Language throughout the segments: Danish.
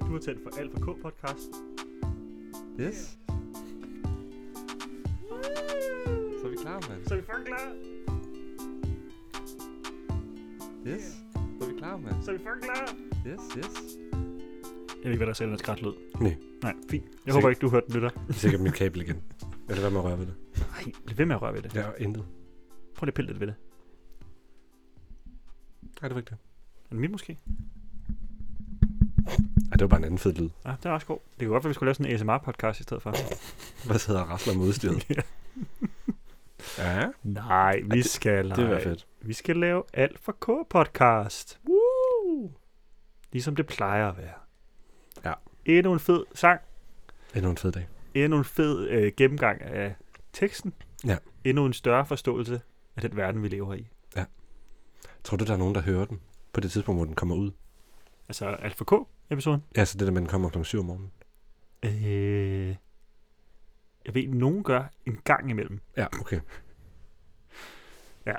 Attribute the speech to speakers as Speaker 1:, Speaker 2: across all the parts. Speaker 1: Kurtelt for Alfa K podcast.
Speaker 2: Yes. Så er vi klar, mand.
Speaker 1: Så er vi fucking klar.
Speaker 2: Yes. Så er vi klar, mand.
Speaker 1: Så er vi fucking klar.
Speaker 2: Yes, yes.
Speaker 1: Jeg ved ikke, hvad der selv er skræt lød.
Speaker 3: Nej.
Speaker 1: Nej, fint. Jeg
Speaker 3: Sikkert.
Speaker 1: håber ikke, du hørte den lytter.
Speaker 3: Det er sikkert mit kabel igen. Eller hvad med at røre ved det?
Speaker 1: Nej, bliv ved med at røre ved det.
Speaker 3: Jeg har intet.
Speaker 1: Prøv lige at pille lidt ved det.
Speaker 3: Nej, det var ikke det.
Speaker 1: Er det mit måske?
Speaker 3: Ej, det var bare en anden fed lyd.
Speaker 1: Ja, det er også god. Det kunne godt være, vi skulle lave sådan en ASMR-podcast i stedet for.
Speaker 3: Hvad hedder rasler med udstyret? ja,
Speaker 1: Nej, vi
Speaker 3: det-
Speaker 1: skal
Speaker 3: det vil være fedt.
Speaker 1: Vi skal lave alt for K-podcast. Woo! Ligesom det plejer at være.
Speaker 3: Ja.
Speaker 1: Endnu en fed sang.
Speaker 3: Endnu en fed dag.
Speaker 1: Endnu en fed øh, gennemgang af teksten.
Speaker 3: Ja.
Speaker 1: Endnu en større forståelse af den verden, vi lever i.
Speaker 3: Tror du, der er nogen, der hører den? På det tidspunkt, hvor den kommer ud?
Speaker 1: Altså alt for K-episoden.
Speaker 3: Ja, så det der med, at den kommer kl. 7 om morgenen.
Speaker 1: Øh, jeg ved, nogen gør en gang imellem.
Speaker 3: Ja, okay.
Speaker 1: Ja.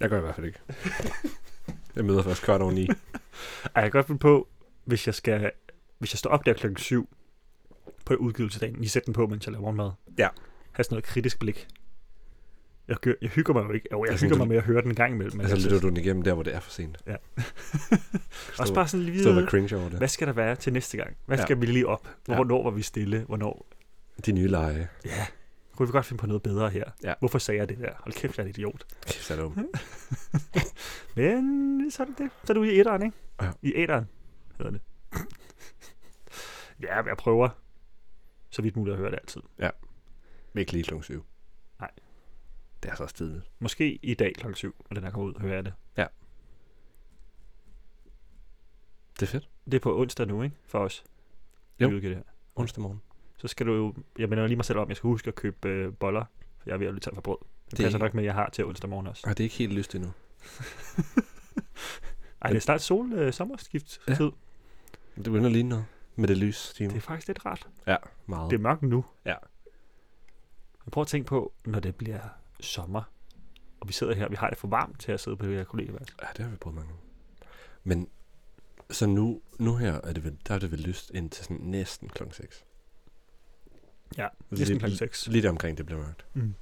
Speaker 3: Jeg gør i hvert fald ikke. jeg møder først kvart over ni.
Speaker 1: Ej, jeg kan godt finde på, hvis jeg skal, hvis jeg står op der klokken 7 på udgivelsedagen, lige sætte den på, mens jeg laver morgenmad.
Speaker 3: Ja.
Speaker 1: Have sådan noget kritisk blik. Jeg, gør, jeg hygger mig jo ikke. Jo, jeg
Speaker 3: Jeg
Speaker 1: hygger
Speaker 3: synes,
Speaker 1: mig
Speaker 3: du-
Speaker 1: med at høre den en gang imellem. men
Speaker 3: Altså,
Speaker 1: jeg
Speaker 3: lytter
Speaker 1: synes-
Speaker 3: du den igennem der, hvor det er for sent.
Speaker 1: Ja.
Speaker 3: Forstår-
Speaker 1: Også bare sådan lige
Speaker 3: Forstår, hvad
Speaker 1: vide,
Speaker 3: cringe over det.
Speaker 1: hvad skal der være til næste gang? Hvad
Speaker 3: Ja.
Speaker 1: skal vi lige op?
Speaker 3: Ja.
Speaker 1: Hvornår var vi stille? Hvornår?
Speaker 3: De nye lege.
Speaker 1: Ja, kunne vi godt finde på noget bedre her?
Speaker 3: Ja.
Speaker 1: Hvorfor sagde jeg det der? Hold kæft, jeg er en idiot.
Speaker 3: Kæft, er det dumt.
Speaker 1: Men så er det det. Så er du i æderen, ikke?
Speaker 3: Ja.
Speaker 1: I æderen hedder det. ja, jeg prøver så vidt muligt at høre det altid.
Speaker 3: Men ikke lige kl. 7.
Speaker 1: Nej.
Speaker 3: Det er altså også tidligt.
Speaker 1: Måske i dag klokken 7, når den her kommer ud, hører jeg det.
Speaker 3: Det er fedt.
Speaker 1: Det er på onsdag nu, ikke? For os.
Speaker 3: Jo.
Speaker 1: Vi udgiver det her.
Speaker 3: Onsdag morgen.
Speaker 1: Så skal du jo... Jeg minder lige mig selv om, jeg skal huske at købe øh, boller. For jeg er ved at blive tør for brød. Det,
Speaker 3: Det er
Speaker 1: passer
Speaker 3: ikke-
Speaker 1: nok med, at jeg har til onsdag morgen også.
Speaker 3: Og det er ikke helt lyst endnu.
Speaker 1: Ej, det er snart sol øh, sommerskift ja.
Speaker 3: Ja.
Speaker 1: tid.
Speaker 3: Det begynder at ligne noget med det lys, Stine.
Speaker 1: Det er faktisk lidt rart.
Speaker 3: Ja, meget.
Speaker 1: Det er mørkt nu.
Speaker 3: Ja.
Speaker 1: Men prøv at tænke på, når det bliver sommer, og vi sidder her, vi har det for varmt til at sidde på det her kollegeværelse.
Speaker 3: Ja, det har vi prøvet mange gange. Men så nu, nu her er det vel, der er det vel lyst indtil sådan næsten klokken 6.
Speaker 1: Ja,
Speaker 3: Lidt-
Speaker 1: næsten klokken 6.
Speaker 3: Så lige der omkring det bliver mørkt.
Speaker 1: Mm.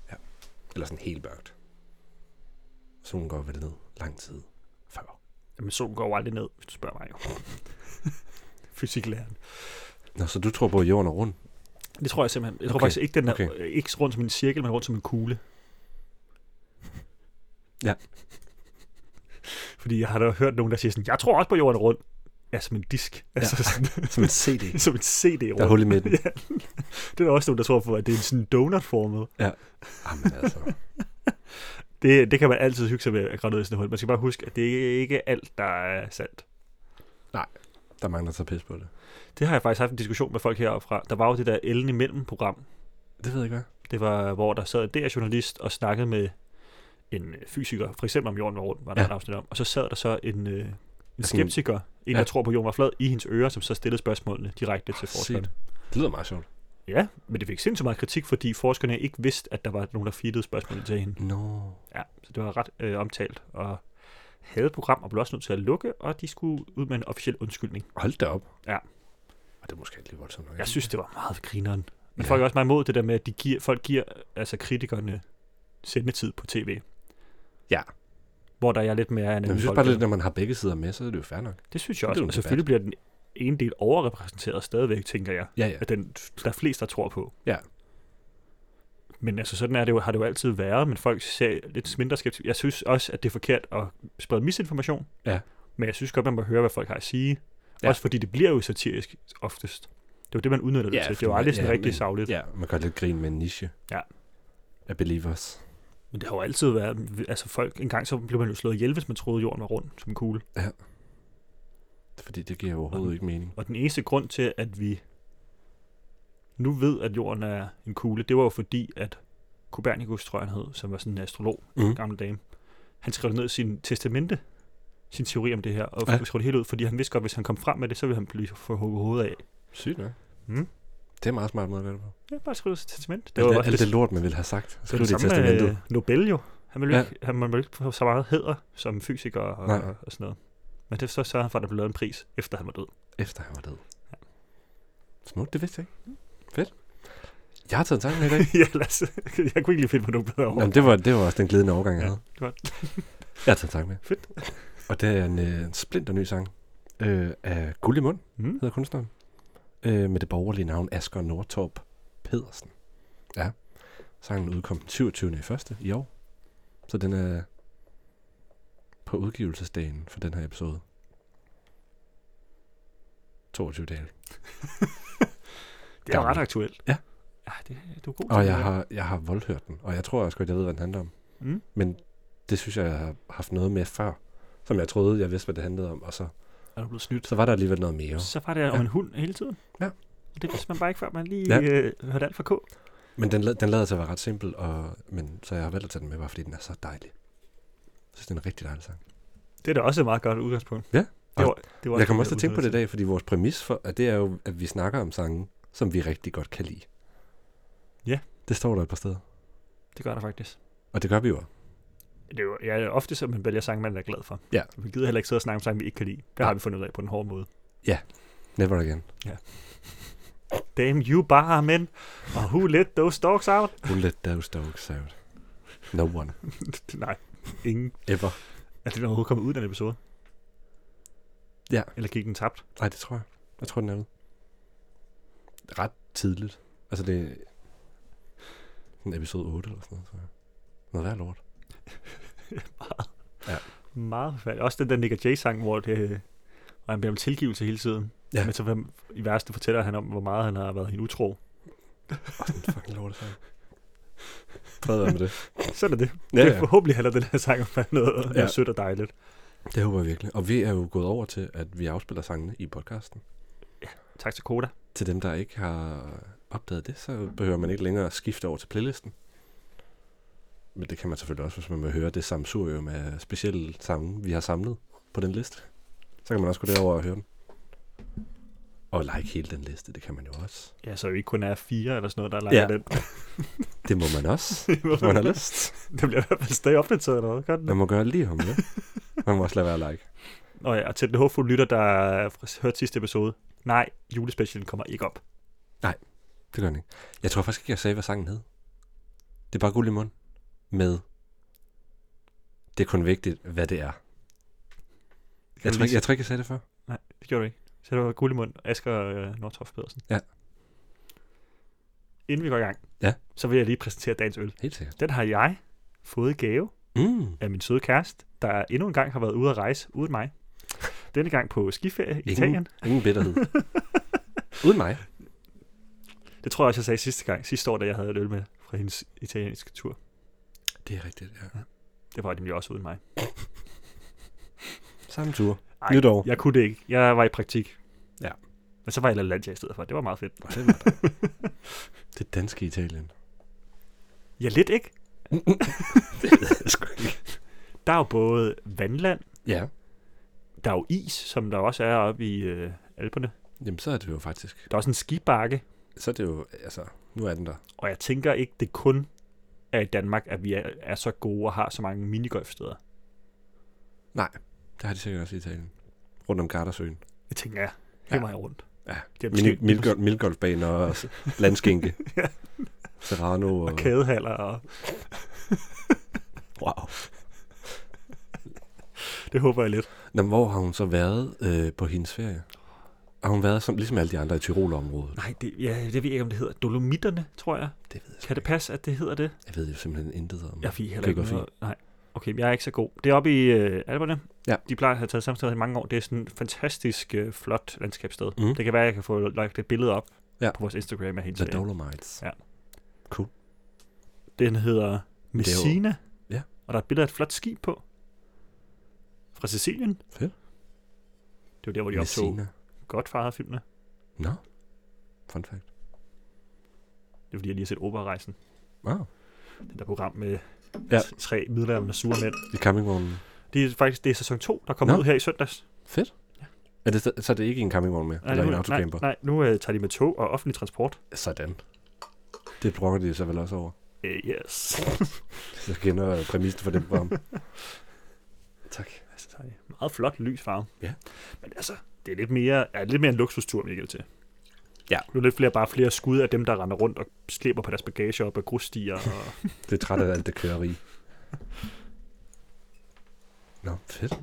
Speaker 3: Eller sådan helt mørkt. Solen går vel ned lang tid før.
Speaker 1: Jamen, solen går jo aldrig ned, hvis du spørger mig jo. Fysiklæreren.
Speaker 3: Nå, så du tror på, at jorden er rund?
Speaker 1: Det tror jeg simpelthen. Jeg tror
Speaker 3: Okay,
Speaker 1: faktisk ikke, den er
Speaker 3: okay.
Speaker 1: okay. ikke rundt som en cirkel, men rundt som en kugle.
Speaker 3: Ja.
Speaker 1: Fordi jeg har da hørt nogen, der siger sådan, jeg tror også på jorden er rund. Ja, som en disk. Altså ja. sådan,
Speaker 3: Som en CD.
Speaker 1: som en CD-rund.
Speaker 3: Der er hul i midten.
Speaker 1: ja. Det er der også nogen, der tror på, at det er en sådan donut-formet.
Speaker 3: Jamen altså.
Speaker 1: Det, det kan man altid hygge sig med at grænne ud i sådan et hul. Man skal bare huske, at det ikke ikke er alt, der er sandt.
Speaker 3: Der er mange, der tager pis på det.
Speaker 1: Det har jeg faktisk haft en diskussion med folk heroppe fra. Der var jo det der Ellen imellem-program,
Speaker 3: Det ved jeg ikke, hvad.
Speaker 1: Det var, hvor der sad en DR-journalist og snakkede med en øh, fysiker, for eksempel om jorden var rundt, var der ja.
Speaker 3: Ja.
Speaker 1: et afsnit om. Og så sad der så en, øh, en
Speaker 3: Sådan-
Speaker 1: skeptiker, en
Speaker 3: Ja.
Speaker 1: der tror på jorden var flad, i hendes ører, som så stillede spørgsmålene direkte til forskerne.
Speaker 3: Det lyder meget sjovt.
Speaker 1: Ja, men det fik sindssygt meget kritik, fordi forskerne ikke vidste, at der var nogen, der feedede spørgsmålene til hende.
Speaker 3: Nå.
Speaker 1: Ja, så det var ret øh, omtalt og havde et program og blev også nødt til at lukke, og de skulle ud med en officiel undskyldning.
Speaker 3: Hold da op.
Speaker 1: Ja.
Speaker 3: Og det er måske ikke lige voldsomt nok.
Speaker 1: Jeg synes, det var meget grineren. Men ja.
Speaker 3: Ja.
Speaker 1: folk er også meget imod det der med, at de giver, folk giver altså kritikerne sendetid på tv.
Speaker 3: Ja.
Speaker 1: Hvor der jeg er lidt mere
Speaker 3: Men jeg
Speaker 1: analyse.
Speaker 3: synes bare lidt, når man har begge sider med, så er det jo fair nok.
Speaker 1: Det synes jeg
Speaker 3: det
Speaker 1: også.
Speaker 3: er jo en
Speaker 1: Og selvfølgelig bliver den ene del overrepræsenteret stadigvæk, tænker jeg.
Speaker 3: Ja, ja.
Speaker 1: At den, der er flest, der tror på.
Speaker 3: Ja.
Speaker 1: Men altså, sådan er det jo, har det jo altid været, men folk ser lidt mindre skeptisk. Jeg synes også, at det er forkert at sprede misinformation.
Speaker 3: Ja.
Speaker 1: Men jeg synes godt, man må høre, hvad folk har at sige. Ja.
Speaker 3: Ja.
Speaker 1: Også fordi det bliver jo satirisk oftest. Det er jo det, man udnytter det
Speaker 3: Ja,
Speaker 1: til. Det er
Speaker 3: fordi
Speaker 1: jo
Speaker 3: man-
Speaker 1: aldrig sådan
Speaker 3: ja,
Speaker 1: rigtig
Speaker 3: men-
Speaker 1: savligt.
Speaker 3: Ja, man gør lidt grin med en niche.
Speaker 1: Ja.
Speaker 3: Af believers.
Speaker 1: Men det har jo altid været, altså folk, engang så blev man jo slået ihjel, hvis man troede, jorden var rund som en kugle.
Speaker 3: Fordi det giver
Speaker 1: Mm.
Speaker 3: overhovedet ikke mening.
Speaker 1: Og den eneste grund til, at vi nu ved, at jorden er en kugle, det var jo fordi, at Copernicus, tror jeg han hed, som var sådan en astrolog,
Speaker 3: Mm.
Speaker 1: en gammel dame, han skrev det ned i sin testamente, sin teori om det her, og ja.
Speaker 3: Ja.
Speaker 1: skrev det hele ud, fordi han vidste godt, at hvis han kom frem med det, så ville han blive få hugget hovedet af.
Speaker 3: Sygt, ja.
Speaker 1: Mm.
Speaker 3: Det er en meget smart måde at gøre det på.
Speaker 1: Ja, bare skrive det i sit testament.
Speaker 3: Det alt, Altså, det,
Speaker 1: også
Speaker 3: alt det lort, man ville have sagt.
Speaker 1: det,
Speaker 3: Skriv
Speaker 1: det
Speaker 3: det i
Speaker 1: samme
Speaker 3: testamentet.
Speaker 1: med øh, Nobel jo. Han ville, ja.
Speaker 3: Ja.
Speaker 1: ikke, han ville ikke få så meget hæder som fysiker og,
Speaker 3: Nej.
Speaker 1: og, og sådan noget. Men det så sørgede han for, at der blev lavet en pris, efter han var død.
Speaker 3: Efter han var død. Smukt, det vidste jeg ikke. Fedt. Jeg har taget tanken med i dag.
Speaker 1: ja, lad os, jeg kunne ikke lige finde på noget bedre over.
Speaker 3: Jamen, det var, det var også den glidende overgang, jeg
Speaker 1: Ja,
Speaker 3: havde.
Speaker 1: godt.
Speaker 3: Jeg har taget tanken med.
Speaker 1: Fedt.
Speaker 3: Og det er en, øh, en splinter ny sang øh, af Guld i mund,
Speaker 1: Mm.
Speaker 3: hedder kunstneren. Øh, med det borgerlige navn Asger Nordtorp Pedersen. Ja. Sangen udkom den 27. i første i år. Så den er på udgivelsesdagen for den her episode. 22 dage.
Speaker 1: Det er jo ret
Speaker 3: Gammel.
Speaker 1: aktuelt.
Speaker 3: Ja.
Speaker 1: Ja, det, du er god til
Speaker 3: Og
Speaker 1: det
Speaker 3: jeg
Speaker 1: der.
Speaker 3: har, jeg har voldhørt den, og jeg tror også godt, jeg ved, hvad den handler om.
Speaker 1: Mm.
Speaker 3: Men det synes jeg, jeg har haft noget med før, som jeg troede, jeg vidste, hvad det handlede om. Og så,
Speaker 1: Er du blevet snydt?
Speaker 3: så var der alligevel noget mere.
Speaker 1: Så var det om
Speaker 3: Ja.
Speaker 1: en hund hele tiden.
Speaker 3: Ja.
Speaker 1: Og det vidste man bare ikke, før man lige
Speaker 3: Ja.
Speaker 1: øh, hørte alt fra K.
Speaker 3: Men den, la- den lader til at være ret simpel, og, men så jeg har valgt at tage den med, bare fordi den er så dejlig. Jeg synes, den er en rigtig dejlig sang.
Speaker 1: Det er da også et meget godt udgangspunkt.
Speaker 3: Ja.
Speaker 1: Det var, det var
Speaker 3: Jeg kommer
Speaker 1: også
Speaker 3: også til at tænke på det i
Speaker 1: udgangspunkt.
Speaker 3: dag, fordi vores præmis for, at det er jo, at vi snakker om sange, som vi rigtig godt kan lide.
Speaker 1: Ja.
Speaker 3: Det står der et par steder.
Speaker 1: Det gør der faktisk.
Speaker 3: Og det gør vi jo.
Speaker 1: Det er jo ja, ofte, så man vælger sange, man er glad for.
Speaker 3: Ja.
Speaker 1: Vi gider heller ikke sidde og snakke om sange, vi ikke kan lide. Det har
Speaker 3: Nej.
Speaker 1: vi fundet ud af på den hårde måde.
Speaker 3: Never again.
Speaker 1: Damn you bare, men. Og who let those dogs out?
Speaker 3: Who let those dogs out? No one.
Speaker 1: Nej, ingen.
Speaker 3: Ever.
Speaker 1: Er det overhovedet kommet ud af den episode?
Speaker 3: Ja.
Speaker 1: Eller gik den tabt?
Speaker 3: Nej, det tror jeg. Jeg tror, den er ude. Ret tidligt. Altså, det er sådan episode 8 eller sådan noget, tror jeg. Noget værd lort.
Speaker 1: Meget forfærdeligt. Også den der Nick Jay-sang, hvor, det, øh, hvor han beder om tilgivelse hele tiden.
Speaker 3: Ja.
Speaker 1: Men så hvem- i værste fortæller han om, hvor meget han har været hende utro.
Speaker 3: Og sådan en fucking lort, Fred være med det.
Speaker 1: Så er det det.
Speaker 3: Ja,
Speaker 1: det
Speaker 3: ja.
Speaker 1: forhåbentlig handler den her sang om noget, noget
Speaker 3: Ja.
Speaker 1: sødt og dejligt.
Speaker 3: Det håber jeg virkelig. Og vi er jo gået over til, at vi afspiller sangene i podcasten.
Speaker 1: Tak til Koda.
Speaker 3: Til dem, der ikke har opdaget det, så behøver man ikke længere at skifte over til playlisten. Men det kan man selvfølgelig også, hvis man vil høre det samsurium af specielle sange, vi har samlet på den liste. Så kan man også gå derover og høre dem. Og like hele den liste, det kan man jo også.
Speaker 1: Ja, så jo ikke kun er fire eller sådan noget, der leger
Speaker 3: Ja.
Speaker 1: ja. den.
Speaker 3: Det må man også.
Speaker 1: Hvorfor
Speaker 3: Man har
Speaker 1: ikke?
Speaker 3: lyst.
Speaker 1: det bliver i hvert fald stadig opdateret eller noget. Gør den
Speaker 3: Man
Speaker 1: det?
Speaker 3: må gøre lige om det. Man må også lade være at like.
Speaker 1: Nå ja, og til den håbfulde lytter, der har hørt sidste episode. Nej, julespecialen kommer ikke op.
Speaker 3: Det gør den ikke. Jeg tror faktisk ikke, jeg sagde, hvad sangen hed. Det er bare guld i mund. Med. Det er kun vigtigt, hvad det er.
Speaker 1: Det kan
Speaker 3: Jeg
Speaker 1: du
Speaker 3: tror, ikke,
Speaker 1: lige-
Speaker 3: jeg tror ikke, jeg sagde det før.
Speaker 1: Nej, det gjorde du ikke. Så det var Gullimund, Asger øh, Nordtoft Pedersen.
Speaker 3: Ja.
Speaker 1: Inden vi går i gang,
Speaker 3: Ja.
Speaker 1: så vil jeg lige præsentere dagens øl.
Speaker 3: Helt sikkert.
Speaker 1: Den har jeg fået i gave
Speaker 3: Mm.
Speaker 1: af min søde kæreste, der endnu en gang har været ude at rejse uden mig. Denne gang på skiferie i Italien.
Speaker 3: Ingen, ingen bitterhed. Uden mig.
Speaker 1: Det tror jeg også, jeg sagde sidste gang, sidste år, da jeg havde et øl med fra hendes italienske tur.
Speaker 3: Det er rigtigt, ja.
Speaker 1: Det var nemlig også uden mig.
Speaker 3: Samme tur.
Speaker 1: Ej,
Speaker 3: Nytår.
Speaker 1: Jeg kunne det ikke. Jeg var i praktik.
Speaker 3: Ja.
Speaker 1: Men så var jeg i La Landia i stedet for. Det var meget fedt.
Speaker 3: Nå, det, var der. det danske Italien.
Speaker 1: Ja, lidt ikke.
Speaker 3: det ved jeg sgu ikke.
Speaker 1: Der er jo både vandland,
Speaker 3: Ja,
Speaker 1: der er jo is, som der også er oppe i øh, Alperne.
Speaker 3: jamen så er det jo faktisk.
Speaker 1: Der er også en skibakke,
Speaker 3: Så er det jo, altså, nu er den der.
Speaker 1: og jeg tænker ikke, det kun er i Danmark, at vi er, er så gode og har så mange minigolfsteder.
Speaker 3: Det har de sikkert også i Italien. Rundt om Gardasøen.
Speaker 1: Det tænker jeg.
Speaker 3: Ja.
Speaker 1: Hele vejen rundt.
Speaker 3: Ja.
Speaker 1: Det er
Speaker 3: Mini-
Speaker 1: det er
Speaker 3: mildgol- Mildgolfbaner og s- landskænke.
Speaker 1: Ja.
Speaker 3: Serrano og...
Speaker 1: Og kædehaller. Og
Speaker 3: Wow.
Speaker 1: det håber jeg lidt.
Speaker 3: Nå, men hvor har hun så været øh, på hendes ferie? Har hun været som, ligesom alle de andre i Tyrol-området?
Speaker 1: Nej, det, ja, det ved jeg ikke, om det hedder. Dolomitterne, tror jeg.
Speaker 3: Det ved jeg
Speaker 1: Kan det passe, at det hedder det?
Speaker 3: Jeg ved jo simpelthen intet om.
Speaker 1: Jeg fik heller ikke
Speaker 3: Geografi.
Speaker 1: noget. Nej. Okay, men jeg er ikke så god. Det er oppe i øh, Alperne.
Speaker 3: Ja.
Speaker 1: De plejer at have taget samtidig i mange år. Det er sådan et fantastisk øh, flot landskabssted.
Speaker 3: Mm.
Speaker 1: Det kan være, at jeg kan få lagt et billede op
Speaker 3: Ja.
Speaker 1: på vores Instagram af hendes
Speaker 3: The Dolomites.
Speaker 1: Ja.
Speaker 3: Ja.
Speaker 1: Den hedder Messina.
Speaker 3: ja.
Speaker 1: Og der er et billede af et flot skib på. Fra Sicilien.
Speaker 3: Fedt.
Speaker 1: Det var der, hvor de optog
Speaker 3: Messina.
Speaker 1: Godfather-filmene.
Speaker 3: Nå. Fun fact.
Speaker 1: Det er fordi, jeg lige har set Operarejsen.
Speaker 3: Wow.
Speaker 1: Det der program med
Speaker 3: Ja.
Speaker 1: ja. tre middelalderne sure mænd.
Speaker 3: I campingvognen.
Speaker 1: Det er faktisk det er sæson 2, der kommer
Speaker 3: Nå.
Speaker 1: ud her i søndags.
Speaker 3: Fedt. Er det, sta- så er det ikke en campingvogn mere? eller
Speaker 1: det
Speaker 3: en
Speaker 1: må- nej,
Speaker 3: autocamper?
Speaker 1: nej, nu øh, tager de med tog og offentlig transport.
Speaker 3: Sådan. Det brokker de sig vel også over.
Speaker 1: Uh, yes.
Speaker 3: Jeg kender øh, præmissen for det program. tak.
Speaker 1: altså, der er meget flot lys farve.
Speaker 3: Ja.
Speaker 1: Men altså, det er lidt mere, ja, lidt mere en luksustur, Michael, til.
Speaker 3: Ja.
Speaker 1: Nu er lidt flere, bare flere skud af dem, der render rundt og slæber på deres bagage op af grusstier. Og...
Speaker 3: Det er træt af alt det køreri. Nå, fedt.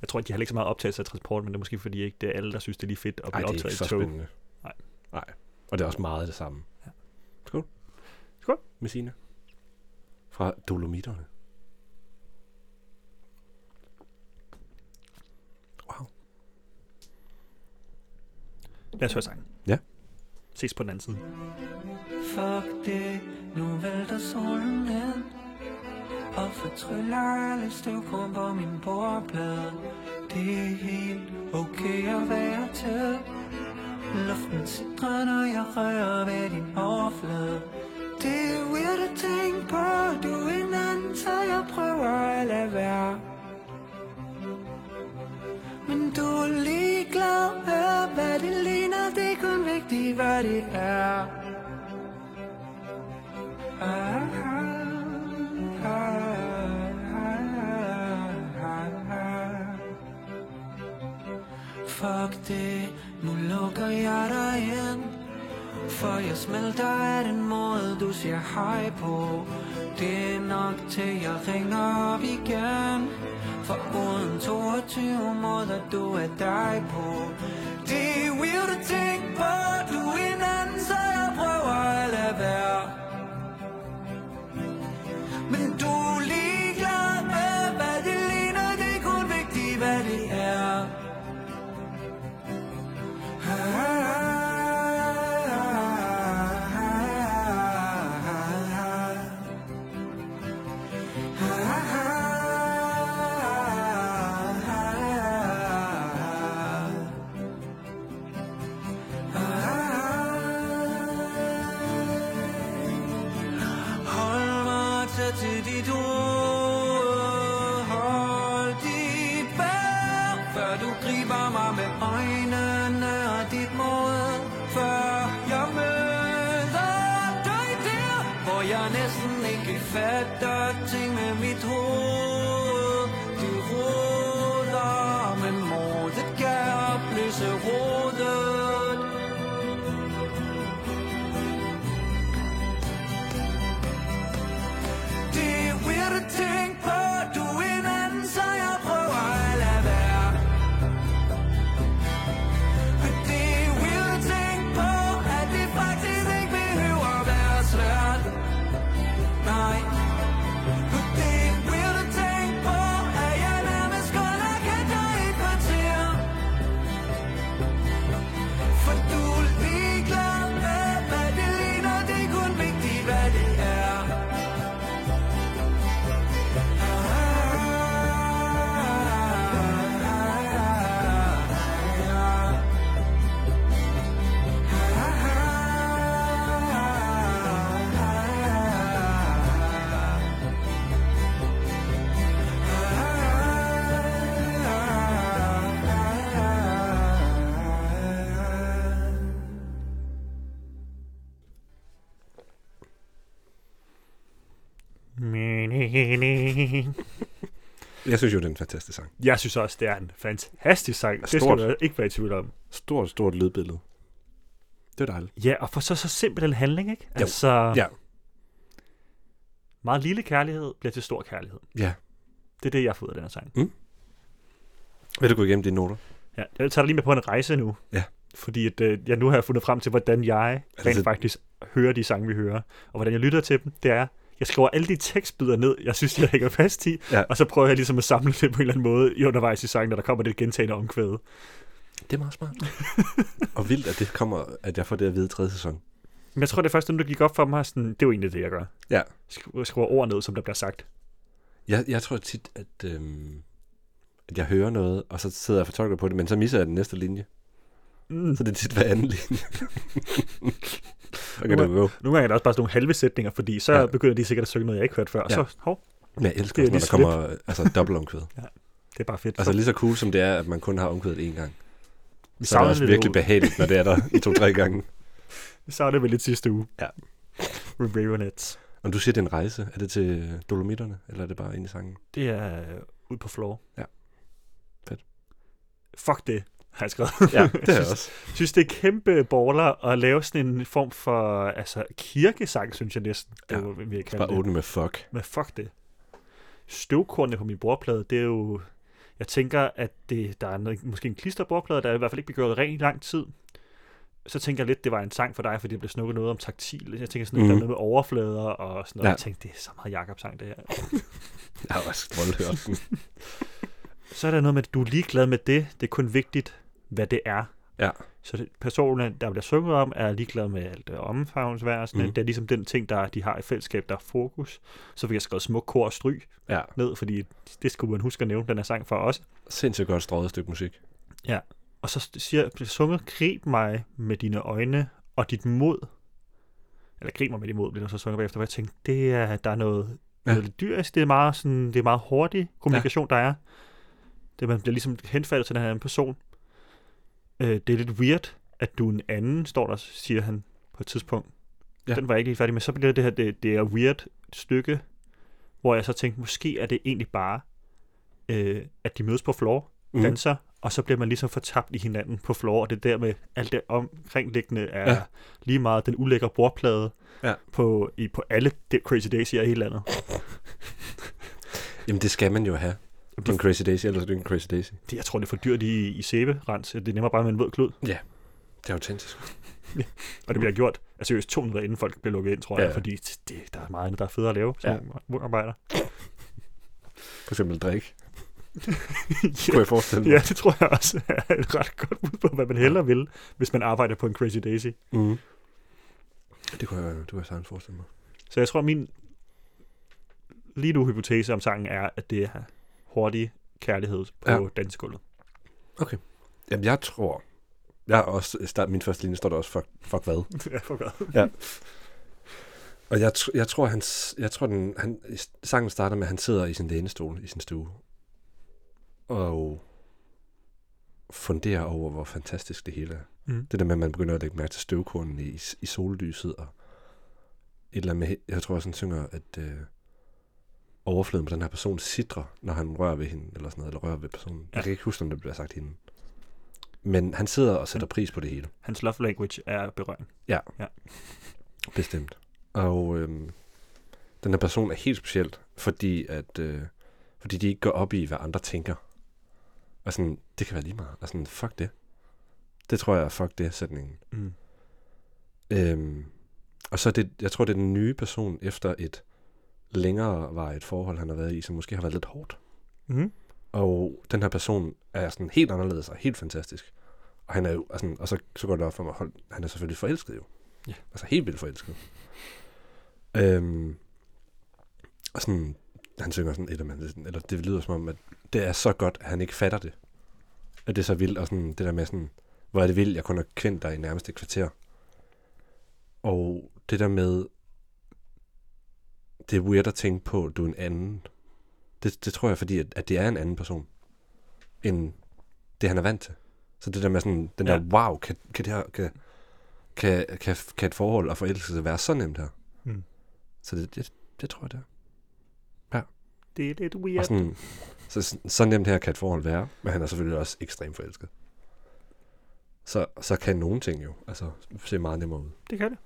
Speaker 1: Jeg tror, at de har heller ikke så meget optagelse af transport, men det er måske fordi, ikke det er alle, der synes, det er lige fedt at
Speaker 3: Ej,
Speaker 1: blive
Speaker 3: det er
Speaker 1: optaget
Speaker 3: ikke
Speaker 1: i
Speaker 3: så
Speaker 1: et tog.
Speaker 3: spændende.
Speaker 1: Nej.
Speaker 3: Nej. Og det er også meget det samme.
Speaker 1: Ja.
Speaker 3: Skål.
Speaker 1: Skål.
Speaker 3: Messina. Fra Dolomiterne. Wow.
Speaker 1: Lad os høre sangen.
Speaker 3: Ja.
Speaker 1: Ses på den anden side.
Speaker 4: Fuck det, nu vælter solen ned Og fortryller alle støvkrumper min bordplade Det er helt okay at være til Luften sidder, når jeg rører ved din overflade Det er weird at tænke på, du er en anden, så jeg prøver at lade være Men du er ligeglad med, hvad det ligner, det er kun vigtigt, hvad det er Fuck det, nu lukker jeg dig ind For jeg smelter af den måde, du siger hej på Det er nok til, jeg ringer op igen For uden 22 måder, du er dig på Det er weird at tænke på, du er en anden, så jeg prøver at lade være men du er ligeglad med, hvad det ligner. Det er kun vigtigt, hvad det er. Hold mig tæt til dit hoved Hold dit bær Før du griber mig med øjnene og dit mod Før jeg møder dig der Hvor jeg næsten ikke fatter ting med mit hoved Det roder, men modet kan opløse rodet Det er weird at tænke på, du er en anden, så jeg prøver at lade være. Det er weird at tænke på, at det faktisk ikke behøver at være svært. Nej. Det er weird at tænke på, at jeg nærmest kun har kendt dig i et kvarter. For du er ligeglad med, hvad det ligner. Det er kun vigtigt, hvad det er.
Speaker 3: Jeg synes jo, det er en fantastisk sang.
Speaker 1: Jeg synes også, det er en fantastisk sang. Det
Speaker 3: Stort.
Speaker 1: skal du ikke være i tvivl om.
Speaker 3: Stort, stort lydbillede. Det er dejligt.
Speaker 1: Ja, og for så, så simpel en handling, ikke?
Speaker 3: Jo.
Speaker 1: Altså,
Speaker 3: Ja.
Speaker 1: meget lille kærlighed bliver til stor kærlighed.
Speaker 3: Ja.
Speaker 1: Det er det, jeg får ud af den her sang.
Speaker 3: Vil du gå igennem dine noter?
Speaker 1: Ja, jeg tager dig lige med på en rejse nu.
Speaker 3: Ja.
Speaker 1: Fordi at, øh, jeg nu har jeg fundet frem til, hvordan jeg
Speaker 3: Altså,
Speaker 1: rent
Speaker 3: det-
Speaker 1: faktisk hører de sange, vi hører. Og hvordan jeg lytter til dem, det er, jeg skriver alle de tekstbider ned, jeg synes, jeg hænger fast i,
Speaker 3: Ja.
Speaker 1: og så prøver jeg ligesom at samle det på en eller anden måde i undervejs i sangen, når der kommer det gentagende omkvæde.
Speaker 3: Det er meget smart. og vildt, at det kommer, at jeg får det at vide i tredje sæson.
Speaker 1: Men jeg tror, det første, der gik op for mig, er sådan, det er jo egentlig det, jeg gør.
Speaker 3: Ja.
Speaker 1: Sk- Jeg skriver ord ned, som der bliver sagt.
Speaker 3: Jeg, jeg tror tit, at, øhm, at jeg hører noget, og så sidder jeg og fortolker på det, men så misser jeg den næste linje.
Speaker 1: Mm.
Speaker 3: Så det er tit hver anden linje. okay, det gå.
Speaker 1: Nogle gange er der også bare sådan nogle halve sætninger, fordi så
Speaker 3: Ja.
Speaker 1: ja. begynder de sikkert at synge noget, jeg ikke hørte før. Og
Speaker 3: Ja.
Speaker 1: så, hov,
Speaker 3: Men jeg elsker
Speaker 1: Det
Speaker 3: også,
Speaker 1: er
Speaker 3: når
Speaker 1: lige
Speaker 3: der kommer altså, dobbelt omkvæd.
Speaker 1: det er bare fedt.
Speaker 3: Altså
Speaker 1: Så
Speaker 3: lige så cool, som det er, at man kun har omkvædet én gang.
Speaker 1: vi
Speaker 3: Så er det
Speaker 1: savner
Speaker 3: også
Speaker 1: det,
Speaker 3: virkelig
Speaker 1: virkelig
Speaker 3: behageligt, når det er der i to-tre gange.
Speaker 1: vi savner det lidt sidste uge.
Speaker 3: Ja.
Speaker 1: Ravenettes.
Speaker 3: Om du siger, det er en rejse, er det til Dolomitterne, eller er det bare ind i sangen?
Speaker 1: Det er øh, ude på floor.
Speaker 3: Ja. Fedt.
Speaker 1: Fuck det. har jeg skrevet.
Speaker 3: Ja, det er jeg også.
Speaker 1: synes, det er kæmpe borler at lave sådan en form for altså, kirkesang, synes jeg næsten. Det
Speaker 3: Ja,
Speaker 1: ja, var, vi kan kalde
Speaker 3: Bare
Speaker 1: det.
Speaker 3: åbne med fuck.
Speaker 1: Men fuck det. Støvkornene på min bordplade, det er jo... Jeg tænker, at det, der er noget, måske en klisterbordplade, der i hvert fald ikke bliver gjort ren i lang tid. Så tænker jeg lidt, det var en sang for dig, fordi der blev snukket noget om taktil. Jeg tænker sådan, mm. der er
Speaker 3: Mhm.
Speaker 1: noget med overflader og sådan noget.
Speaker 3: Ja.
Speaker 1: Ja. Jeg tænkte, det er så meget Jacobs sang, det her.
Speaker 3: Jeg har også voldhørt den.
Speaker 1: Så er der noget med, at du er ligeglad med det. Det er kun vigtigt, hvad det er.
Speaker 3: Ja.
Speaker 1: Så det- personen, der bliver sunget om, er ligeglad med alt øh, omfavnsvær og sådan
Speaker 3: Mhm.
Speaker 1: mm. Det er ligesom den ting, der de har i fællesskab, der er fokus. Så fik jeg skrevet smuk kor og stryg
Speaker 3: Ja,
Speaker 1: ned, fordi det skulle man huske at nævne, den her sang for os.
Speaker 3: sindssygt godt strøget stykke musik.
Speaker 1: Og så siger bliver sunget, grib mig med dine øjne og dit mod. Eller grib mig med dit mod, bliver der så sunget bagefter, hvor jeg tænkte, det er, der er noget,
Speaker 3: Ja.
Speaker 1: ja. noget lidt dyrisk, det er meget, sådan, det er meget hurtig kommunikation, ja. der er. Det, man bliver ligesom henfaldet til den her anden person. Øh, det er lidt weird, at du er en anden, står der, siger han på et tidspunkt.
Speaker 3: Ja.
Speaker 1: Ja. Den var jeg ikke helt færdig med. Så bliver det her, det, det er weird stykke, hvor jeg så tænkte, måske er det egentlig bare, øh, at de mødes på floor,
Speaker 3: Mm.
Speaker 1: danser, og så bliver man ligesom fortabt i hinanden på floor, og det der med alt det omkringliggende er
Speaker 3: Ja.
Speaker 1: ja. lige meget den ulækre bordplade
Speaker 3: Ja.
Speaker 1: på, i, på alle de Crazy Days i hele landet.
Speaker 3: Jamen, det skal man jo have. Det er en Crazy Daisy, ellers er det ikke en Crazy Daisy.
Speaker 1: Det, jeg tror, det er for dyrt i, i sæberens. Det er nemmere bare med en våd klud,
Speaker 3: Det er autentisk.
Speaker 1: og det bliver gjort. Altså seriøst, 200 inden folk bliver lukket ind, tror jeg,
Speaker 3: Mm. Ja.
Speaker 1: fordi det, der er meget andet, der er federe at lave som
Speaker 3: Ja.
Speaker 1: ja. arbejder.
Speaker 3: For eksempel drik. Kunne jeg forestille mig.
Speaker 1: ja, det tror jeg også er et ret godt bud på, hvad man hellere vil, hvis man arbejder på en Crazy Daisy.
Speaker 3: Mm. Det kunne jeg, det kunne jeg sagtens forestille mig.
Speaker 1: Så jeg tror, min lige nu hypotese om sangen er, at det er hurtig kærlighed på
Speaker 3: Ja.
Speaker 1: ja. dansegulvet.
Speaker 3: Jamen, jeg tror... Jeg har også... Start, min første linje står der også, fuck, fuck hvad?
Speaker 1: ja, for godt.
Speaker 3: Og jeg, tr- jeg tror, han, s- jeg tror den, han, sangen starter med, at han sidder i sin lænestol i sin stue og funderer over, hvor fantastisk det hele er.
Speaker 1: Mm.
Speaker 3: Det der med, at man begynder at lægge mærke til støvkornene i, s- i sollyset og et eller andet med, jeg tror også, han synger, at øh, overfladen på den her person sidrer, når han rører ved hende, eller sådan noget, eller rører ved personen. Ja.
Speaker 1: Ja.
Speaker 3: Jeg kan ikke huske, om det bliver sagt hende. Men han sidder og sætter pris på det hele.
Speaker 1: Hans love language er berøring.
Speaker 3: Bestemt. Og øhm, den her person er helt specielt, fordi, at, øh, fordi de ikke går op i, hvad andre tænker. Og sådan, det kan være lige meget. Og sådan, fuck det. Det tror jeg er fuck det, sætningen.
Speaker 1: Mm.
Speaker 3: Øhm, og så er det, jeg tror, det er den nye person efter et længere var et forhold, han har været i, som måske har været lidt hårdt.
Speaker 1: Mm.
Speaker 3: Og den her person er sådan helt anderledes og helt fantastisk. Og, han er jo, altså, og, sådan, og så, så går det op for mig, hold, han er selvfølgelig forelsket jo.
Speaker 1: Ja.
Speaker 3: Altså helt vildt forelsket. Øhm, og sådan, han synger sådan, eller, man, eller det lyder som om, at det er så godt, at han ikke fatter det. At det er så vildt, og sådan det der med sådan, hvor er det vildt, jeg kun har kendt dig i nærmest et kvarter. Og det der med, det er weird at tænke på, at du er en anden. Det, det tror jeg, fordi at, at det er en anden person, end det, han er vant til. Så det der med sådan, den ja. der,
Speaker 1: Ja.
Speaker 3: wow, kan, kan, det her, kan, kan, kan, kan et forhold og forelskelse være så nemt her? Hmm.
Speaker 1: Mm.
Speaker 3: Så det, det, det tror jeg, det er.
Speaker 1: Det er lidt
Speaker 3: Og
Speaker 1: weird.
Speaker 3: sådan, så, så nemt her kan et forhold være, men han er selvfølgelig også ekstremt forelsket. Så, så kan nogle ting jo altså, se meget nemmere ud.
Speaker 1: Det kan det.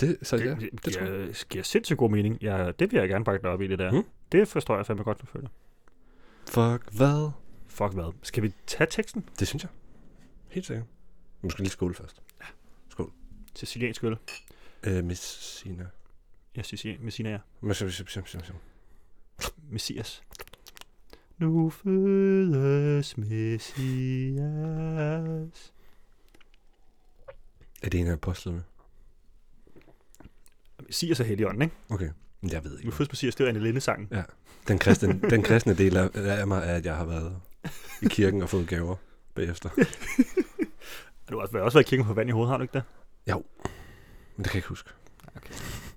Speaker 3: Det, så
Speaker 1: Det,
Speaker 3: ja,
Speaker 1: det, det,
Speaker 3: det tror jeg.
Speaker 1: giver, giver sindssygt god mening. Ja, det vil jeg gerne bakke dig op i, det der.
Speaker 3: Mm.
Speaker 1: Mm. Det forstår jeg fandme godt, du føler.
Speaker 3: Fuck, hvad?
Speaker 1: Fuck hvad. Skal vi tage teksten?
Speaker 3: Det synes jeg. Helt sikkert. Nu skal vi lige skåle først.
Speaker 1: Siciliansk øl.
Speaker 3: Øh, Messina.
Speaker 1: Jeg synes, jeg Messina er.
Speaker 3: Messina.
Speaker 1: Messias. Nu fødes Messias.
Speaker 3: Er det en af apostlene?
Speaker 1: Messias er helligånden, ikke?
Speaker 3: Okay, men jeg ved
Speaker 1: Nu
Speaker 3: ikke.
Speaker 1: fødes Messias, det er Anne Linde-sangen.
Speaker 3: Den kristne, den kristne del af, af mig er, at jeg har været i kirken og fået gaver bagefter.
Speaker 1: Du har også- også været i kirken på vand i hovedet, har du ikke det?
Speaker 3: Men det kan jeg ikke huske.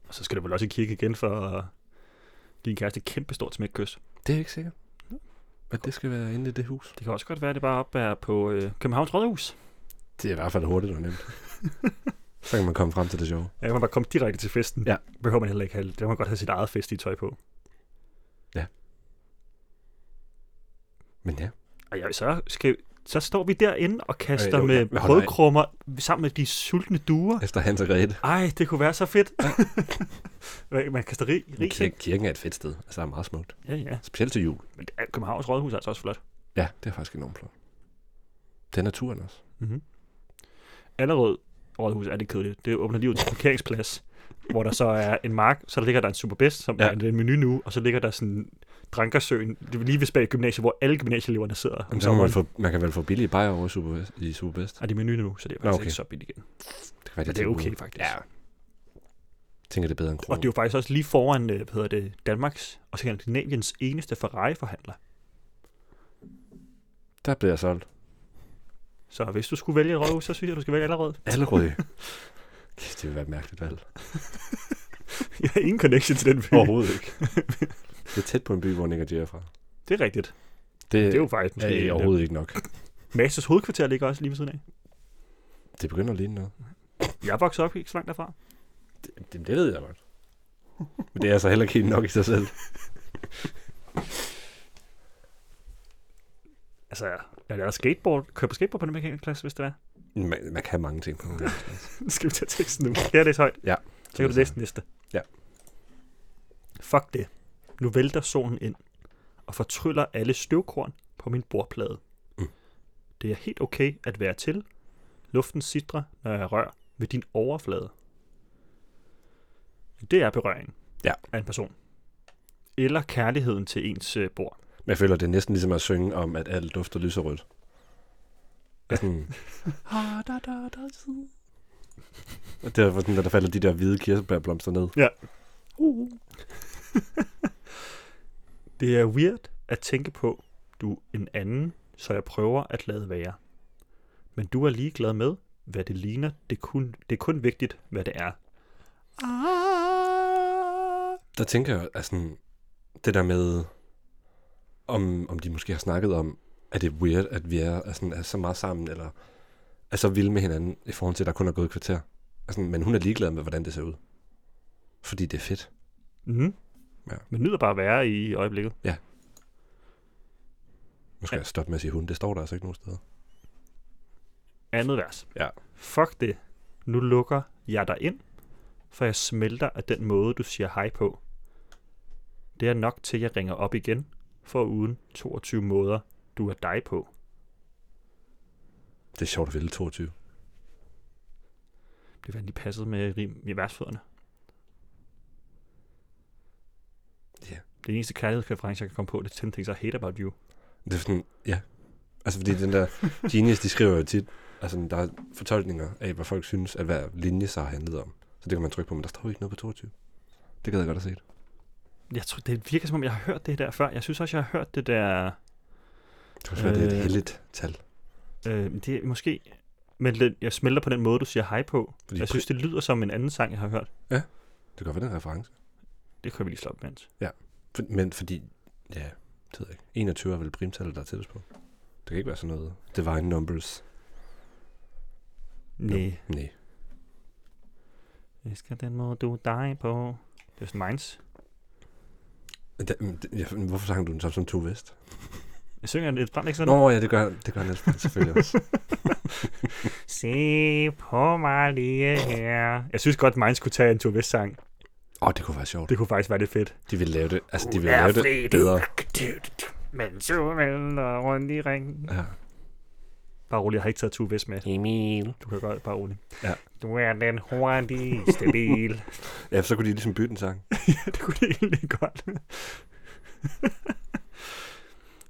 Speaker 1: Og så skal du vel også i kirke igen for at give en kæreste et kæmpe stort smækkys.
Speaker 3: Det er ikke sikkert. Men det skal være inde i det hus.
Speaker 1: Det kan også godt være, at det bare op er på øh, Københavns Rådhus.
Speaker 3: Det er i hvert fald hurtigt og nemt. så kan man komme frem til det sjove.
Speaker 1: Ja, man bare komme direkte til festen.
Speaker 3: Ja.
Speaker 1: Behøver man heller ikke have. Der må man godt have sit eget fest i tøj på.
Speaker 3: Men ja,
Speaker 1: Og ja, så, skal, så står vi derinde og kaster
Speaker 3: Øh,
Speaker 1: øh,
Speaker 3: jo,
Speaker 1: med
Speaker 3: ja, men hold da af.
Speaker 1: brødkrummer sammen med de sultne duer.
Speaker 3: efter Hans og Grete.
Speaker 1: Ej, det kunne være så fedt. Hvad, Man kaster rig, rig ting.
Speaker 3: Kir- kirken er et fedt sted. Altså, det er meget smukt.
Speaker 1: Ja, ja.
Speaker 3: Specielt til jul.
Speaker 1: Men det er- Københavns Rådhus er altså også flot.
Speaker 3: Ja, det er faktisk enormt flot. Det er naturen også.
Speaker 1: Mm-hmm. Allerød Rådhus er det kedeligt. Det åbner lige ud til en parkeringsplads, hvor der så er en mark, så der ligger der en superbest, som
Speaker 3: Ja.
Speaker 1: ja. er en menu nu, og så ligger der sådan Drankersøen, det er lige ved bag gymnasiet, hvor alle gymnasieeleverne sidder om
Speaker 3: Jamen, så kan man,
Speaker 1: sommeren.
Speaker 3: få, man kan vel få billige bajer over i Superbest. I Superbest.
Speaker 1: Er det er menu nu, så det er faktisk
Speaker 3: okay.
Speaker 1: okay. ikke så billigt igen.
Speaker 3: Det kan
Speaker 1: Men
Speaker 3: være,
Speaker 1: det er
Speaker 3: tilbud.
Speaker 1: okay, faktisk.
Speaker 3: Ja. Jeg tænker, det er bedre end
Speaker 1: Og
Speaker 3: kroner.
Speaker 1: det er jo faktisk også lige foran, øh, hvad hedder det, Danmarks og Skandinaviens eneste Ferrari-forhandler.
Speaker 3: Der bliver jeg solgt.
Speaker 1: Så hvis du skulle vælge et rådhus, så synes jeg, du skal vælge allerede.
Speaker 3: Allerød. Kæft, det vil være et mærkeligt valg.
Speaker 1: Jeg har ingen connection til den by.
Speaker 3: Overhovedet ikke. Det er tæt på en by, hvor Nick og Jay er fra.
Speaker 1: Det er rigtigt.
Speaker 3: Det,
Speaker 1: Det er jo faktisk
Speaker 3: er
Speaker 1: måske...
Speaker 3: øh, overhovedet ikke nok.
Speaker 1: Masses hovedkvarter ligger også lige ved siden af.
Speaker 3: Det begynder at ligne noget.
Speaker 1: Jeg voksede op ikke så langt derfra.
Speaker 3: Det, det, det ved jeg godt. Men det er altså heller ikke helt nok i sig selv.
Speaker 1: Altså, jeg lærer skateboard. Kører på skateboard på den mekaniske klasse, hvis det er.
Speaker 3: Man, man kan mange ting på en gang.
Speaker 1: Skal vi tage teksten nu? Kan jeg læse højt?
Speaker 3: Ja.
Speaker 1: Så kan du læse den næste.
Speaker 3: Ja.
Speaker 1: Fuck det. Nu vælter solen ind og fortryller alle støvkorn på min bordplade.
Speaker 3: Mm.
Speaker 1: Det er helt okay at være til. Luften sidder, når jeg rører ved din overflade. Det er berøring
Speaker 3: Ja.
Speaker 1: af en person. Eller kærligheden til ens øh, bord.
Speaker 3: Men jeg føler, det er næsten ligesom at synge om, at alt dufter lyserødt. Ja. Sådan, Ah, da, da, da, da. Og det er sådan, når der falder de der hvide kirsebærblomster ned.
Speaker 1: Uh. det er weird at tænke på, du er en anden, så jeg prøver at lade være. Men du er ligeglad med, hvad det ligner. Det er kun, det er kun vigtigt, hvad det er.
Speaker 3: Der tænker jeg, altså, det der med, om, om de måske har snakket om, at det er weird, at vi er, altså, er så meget sammen, eller er så vilde med hinanden, i forhold til, at der kun er gået et kvarter. Altså, men hun er ligeglad med, hvordan det ser ud. Fordi det er fedt.
Speaker 1: Mm.
Speaker 3: Ja.
Speaker 1: Men nyder bare at være i øjeblikket.
Speaker 3: Nu skal
Speaker 1: Ja.
Speaker 3: jeg stoppe med at sige hun. Det står der altså ikke nogen steder.
Speaker 1: Andet vers.
Speaker 3: Ja.
Speaker 1: Fuck det. Nu lukker jeg dig ind, for jeg smelter af den måde, du siger hej på. Det er nok til, jeg ringer op igen, for uden 22 måder, du er dig på.
Speaker 3: Det er sjovt at vælge 22.
Speaker 1: Det var lige passet med rim i værtsfødderne.
Speaker 3: Ja.
Speaker 1: Det eneste kærlighedsreference, jeg kan komme på, det er 10 Things I Hate About You.
Speaker 3: Det er sådan, ja. Altså fordi den der Genius, de skriver jo tit, altså der er fortolkninger af, hvad folk synes, at hver linje så har handlet om. Så det kan man trykke på, men der står jo ikke noget på 22. Det gad jeg godt at se.
Speaker 1: Jeg tror, det virker som om, jeg har hørt det der før. Jeg synes også, jeg har hørt det der...
Speaker 3: Det kan være, det er et
Speaker 1: Øh.
Speaker 3: heldigt tal.
Speaker 1: Øh, det er måske... Men det- jeg smelter på den måde, du siger hej på.
Speaker 3: Fordi
Speaker 1: jeg synes, det lyder som en anden sang, jeg har hørt.
Speaker 3: Det kan godt være den reference.
Speaker 1: Det kan vi lige slå op mens.
Speaker 3: For, men fordi, ja, det ved jeg ikke. 21 er vel primtallet, der er tættest på. Det kan ikke være sådan noget divine numbers.
Speaker 1: Nej,
Speaker 3: Nej.
Speaker 1: jeg skal den måde, du er dig på. Det er sådan Minds.
Speaker 3: Da, men det- ja, men hvorfor sang du den så som to vest?
Speaker 1: Jeg synger lidt brændt, ikke sådan?
Speaker 3: Nå ja, det gør, det gør Niels Brandt selvfølgelig også.
Speaker 1: Se på mig lige her. Jeg synes godt, Minds kunne tage en Tour Vest-sang.
Speaker 3: Åh, oh, det kunne være sjovt.
Speaker 1: Det kunne faktisk være lidt fedt.
Speaker 3: De vil lave det, altså de vil lave det bedre.
Speaker 1: Men så vælter rundt i ringen.
Speaker 3: Ja.
Speaker 1: Bare rolig, jeg har ikke taget Tue Vest med.
Speaker 3: Emil.
Speaker 1: Du kan godt bare rolig.
Speaker 3: Ja.
Speaker 1: Du er den hurtigste bil.
Speaker 3: Ja, så kunne de ligesom bytte en sang.
Speaker 1: det kunne det egentlig godt.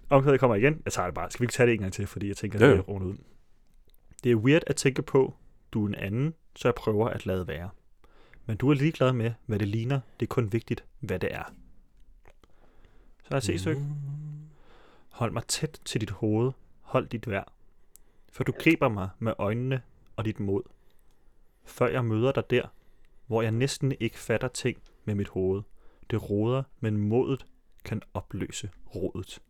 Speaker 1: Omkvædet kommer igen. Jeg tager det bare. Skal vi ikke tage det en gang til, fordi jeg tænker,
Speaker 3: Jo,
Speaker 1: det
Speaker 3: jo.
Speaker 1: er rundet ud. Det er weird at tænke på, du er en anden, så jeg prøver at lade være. Men du er ligeglad med, hvad det ligner. Det er kun vigtigt, hvad det er. Så er
Speaker 3: Mhm.
Speaker 1: C-stykke. Hold mig tæt til dit hoved. Hold dit vejr. For du griber mig med øjnene og dit mod. Før jeg møder dig der, hvor jeg næsten ikke fatter ting med mit hoved. Det roder, men modet kan opløse rodet.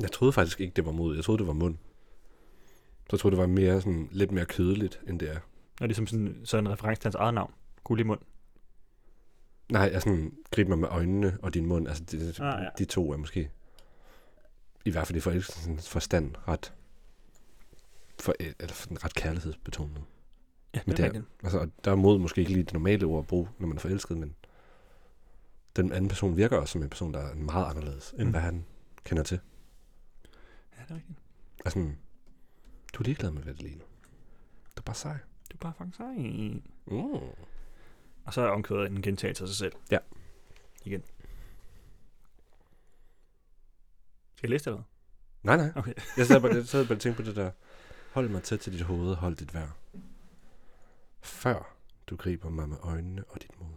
Speaker 3: Jeg troede faktisk ikke, det var mod. Jeg troede, det var mund. Så jeg troede, det var mere sådan, lidt mere kødeligt, end det er.
Speaker 1: Og ligesom sådan, så er en reference til hans eget navn. Guld i mund.
Speaker 3: Nej, jeg sådan, griber mig med øjnene og din mund. Altså, de,
Speaker 1: Ah, ja.
Speaker 3: de to er måske i hvert fald i forelskelsens forstand ret, for, eller sådan ret kærlighedsbetonet.
Speaker 1: Ja,
Speaker 3: Men det er- Altså, og der er mod måske ikke lige det normale ord at bruge, når man er forelsket, men den anden person virker også som en person, der er meget anderledes, end
Speaker 1: Mm.
Speaker 3: mm. hvad han kender til.
Speaker 1: Ja, det er rigtigt.
Speaker 3: Og sådan, du er ligeglad med, hvad det ligner. Du er bare sej.
Speaker 1: Du er bare fanget sig.
Speaker 3: Mm.
Speaker 1: Og så er omkvædet en gentagelse af sig selv.
Speaker 3: Ja.
Speaker 1: Igen. Skal jeg læse det eller hvad?
Speaker 3: Nej, nej.
Speaker 1: Okay.
Speaker 3: Jeg sad bare, jeg sad bare og tænkte på det der, hold mig tæt til dit hoved, hold dit vejr. Før du griber mig med øjnene og dit mod.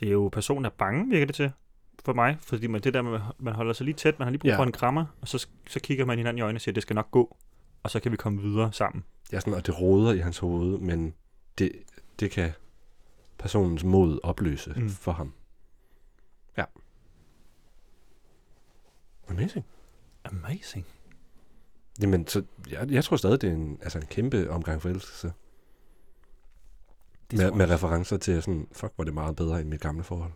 Speaker 1: Det er jo personen er bange, virker det til for mig, fordi man, det der, med, man holder sig lige tæt, man har lige brug
Speaker 3: Ja.
Speaker 1: for en krammer, og så, så kigger man hinanden i øjnene og siger, det skal nok gå, og så kan vi komme videre sammen.
Speaker 3: Ja, sådan, og det råder i hans hoved, men det, det kan personens mod opløse
Speaker 1: Mm.
Speaker 3: mm. for ham. Ja. Amazing.
Speaker 1: Amazing.
Speaker 3: Jamen, så jeg, jeg tror stadig, det er en, altså en kæmpe omgang forelskelse.
Speaker 1: Det
Speaker 3: med,
Speaker 1: tror
Speaker 3: med
Speaker 1: jeg også.
Speaker 3: referencer til sådan, fuck, hvor er det meget bedre end mit gamle forhold.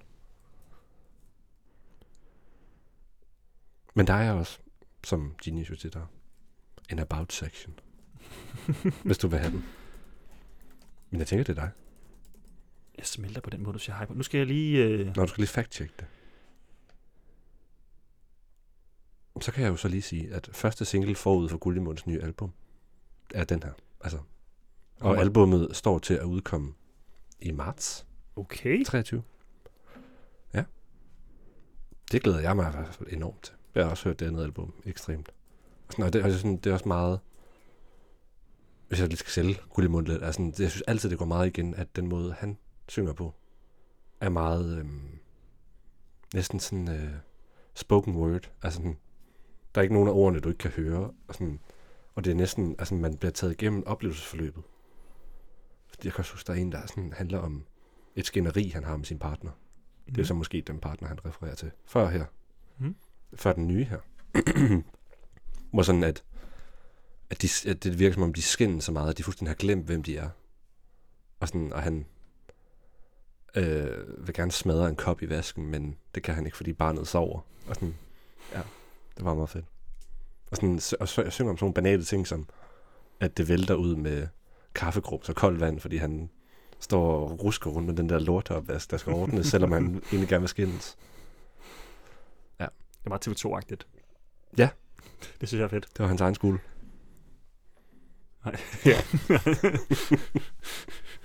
Speaker 3: Men der er også, som Genius jo til der, en about section. hvis du vil have den. Men jeg tænker, det er dig.
Speaker 1: Jeg smelter på den måde, du siger hej på. Nu skal jeg lige... Øh...
Speaker 3: Når du skal lige fact-check det. Så kan jeg jo så lige sige, at første single forud for Gullimunds nye album er den her. Altså, og
Speaker 1: Kommer-
Speaker 3: albummet står til at udkomme i marts
Speaker 1: Okay.
Speaker 3: 23. Ja. Det glæder jeg mig i hvert fald enormt til. Jeg har også hørt det andet album ekstremt. Og sådan, og det, og det, er sådan, det er også meget... Hvis jeg lige skal sælge Gullimund lidt, altså, det, jeg synes altid, det går meget igen, at den måde, han synger på, er meget... Øhm, næsten sådan øh, spoken word. Altså, sådan, der er ikke nogen af ordene, du ikke kan høre. Og, sådan, og det er næsten... Altså, man bliver taget igennem oplevelsesforløbet. Fordi jeg kan også huske, der er en, der sådan, handler om et skænderi, han har med sin partner. Mm. Det er så måske den partner, han refererer til før her.
Speaker 1: Mm.
Speaker 3: Mm. Før den nye her. Hvor sådan, at, at, de, at det virker som om, de skændes så meget, at de fuldstændig har glemt, hvem de er. Og, sådan, og han øh, vil gerne smadre en kop i vasken, men det kan han ikke, fordi barnet sover. Og sådan, ja, det var meget fedt. Og, sådan, s- og så, jeg synger om sådan nogle banale ting, som at det vælter ud med kaffegrums og koldt vand, fordi han står og rusker rundt med den der lorteopvask, der skal ordnes, selvom han egentlig gerne vil skændes.
Speaker 1: Det er meget TV2-agtigt.
Speaker 3: Ja.
Speaker 1: Det synes jeg er fedt.
Speaker 3: Det var hans egen skole.
Speaker 1: ja.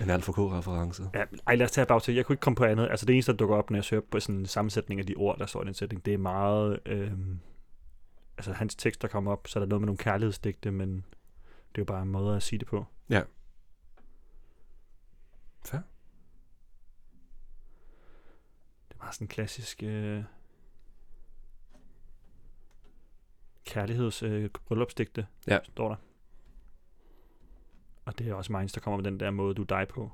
Speaker 3: En alt for k-reference.
Speaker 1: ja. Ej, lad os tage about til. Jeg kunne ikke komme på andet. Altså det eneste, der dukker op, når jeg søger på sådan en sammensætning af de ord, der står i den sætning, det er meget... Øhm, altså hans tekst, der kommer op, så er der noget med nogle kærlighedsdigte, men det er jo bare en måde at sige det på.
Speaker 3: Fair.
Speaker 1: Det er meget sådan en klassisk... Øh, kærligheds øh, bryllupsdigte,
Speaker 3: Ja.
Speaker 1: står der. Og det er også Minds, der kommer med den der måde, du er dig på.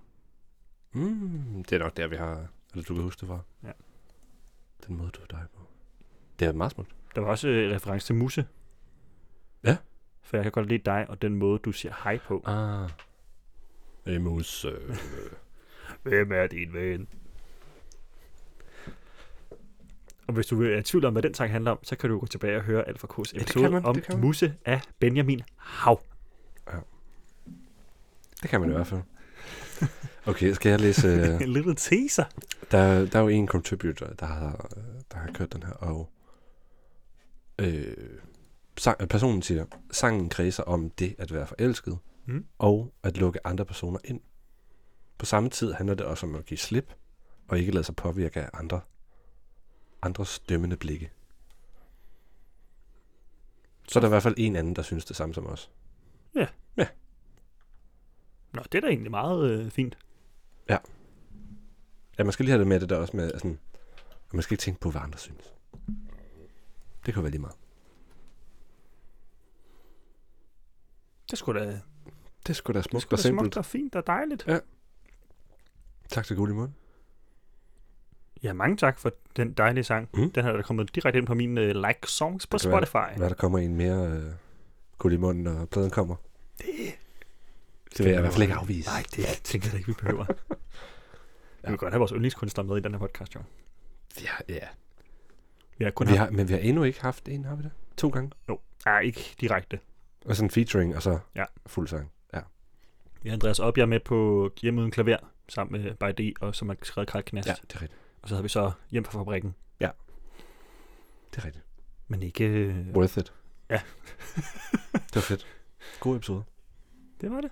Speaker 3: Mm, det er nok der, vi har... Eller du kan huske det fra.
Speaker 1: Ja.
Speaker 3: Den måde, du er dig på. Det er meget smukt.
Speaker 1: Der var også øh, reference til Musse.
Speaker 3: Ja.
Speaker 1: For jeg kan godt lide dig og den måde, du siger hej på.
Speaker 3: Ah. øh, Emus.
Speaker 1: Hvem er din ven? Og hvis du øh, er i tvivl om, hvad den sang handler om, så kan du gå tilbage og høre Alfa K's
Speaker 3: det
Speaker 1: episode
Speaker 3: kan man,
Speaker 1: om
Speaker 3: det kan man.
Speaker 1: Musse af Benjamin Hav.
Speaker 3: Det kan man i hvert fald. Okay, skal jeg læse... øh,
Speaker 1: En lille teaser.
Speaker 3: Der, der er jo en contributor, der har, der har kørt den her, og øh, sang, personen siger, sangen kredser om det at være forelsket,
Speaker 1: Mm.
Speaker 3: og at lukke andre personer ind. På samme tid handler det også om at give slip, og ikke lade sig påvirke af andre, andres dømmende blikke. Så er der i hvert fald en anden, der synes det samme som os.
Speaker 1: Nå, det er da egentlig meget øh, fint.
Speaker 3: Ja, man skal lige have det med det der også med, sådan, at man skal ikke tænke på, hvad andre synes. Det kan jo være lige meget.
Speaker 1: Det skulle da,
Speaker 3: Det er sgu da
Speaker 1: det
Speaker 3: smukt
Speaker 1: skulle
Speaker 3: og
Speaker 1: da smukt
Speaker 3: simpelt.
Speaker 1: og fint og dejligt.
Speaker 3: Ja. Tak til Gullimund.
Speaker 1: Ja, mange tak for den dejlige sang.
Speaker 3: Mm.
Speaker 1: Den her er da kommet direkte ind på mine øh, like songs på
Speaker 3: Det kan være.
Speaker 1: Spotify.
Speaker 3: Hvad der kommer en mere øh, Gullimund, når pladen kommer? Det, det vil
Speaker 1: kan
Speaker 3: jeg i hvert fald ikke
Speaker 1: være.
Speaker 3: afvise.
Speaker 1: Nej, det tænker jeg ikke, vi behøver. Vi vil godt have vores yndlingskunstner med i den her podcast, jo.
Speaker 3: Ja, ja.
Speaker 1: Vi har kun
Speaker 3: Vi
Speaker 1: haft...
Speaker 3: har, men vi har endnu ikke haft en, har vi det? To gange.
Speaker 1: Nej, ikke direkte.
Speaker 3: Og sådan featuring, og så
Speaker 1: Ja.
Speaker 3: fuld sang.
Speaker 1: Vi har Andreas Op, jeg er med på Hjemme Uden Klaver, sammen med Bajdi, og som har skrevet Karl Knast.
Speaker 3: Ja,
Speaker 1: Ja.
Speaker 3: det er rigtigt.
Speaker 1: Og så havde vi så Hjem fra fabrikken.
Speaker 3: Det er rigtigt.
Speaker 1: Men ikke... øh,
Speaker 3: Worth it.
Speaker 1: Ja.
Speaker 3: det var fedt. God episode.
Speaker 1: Det var det.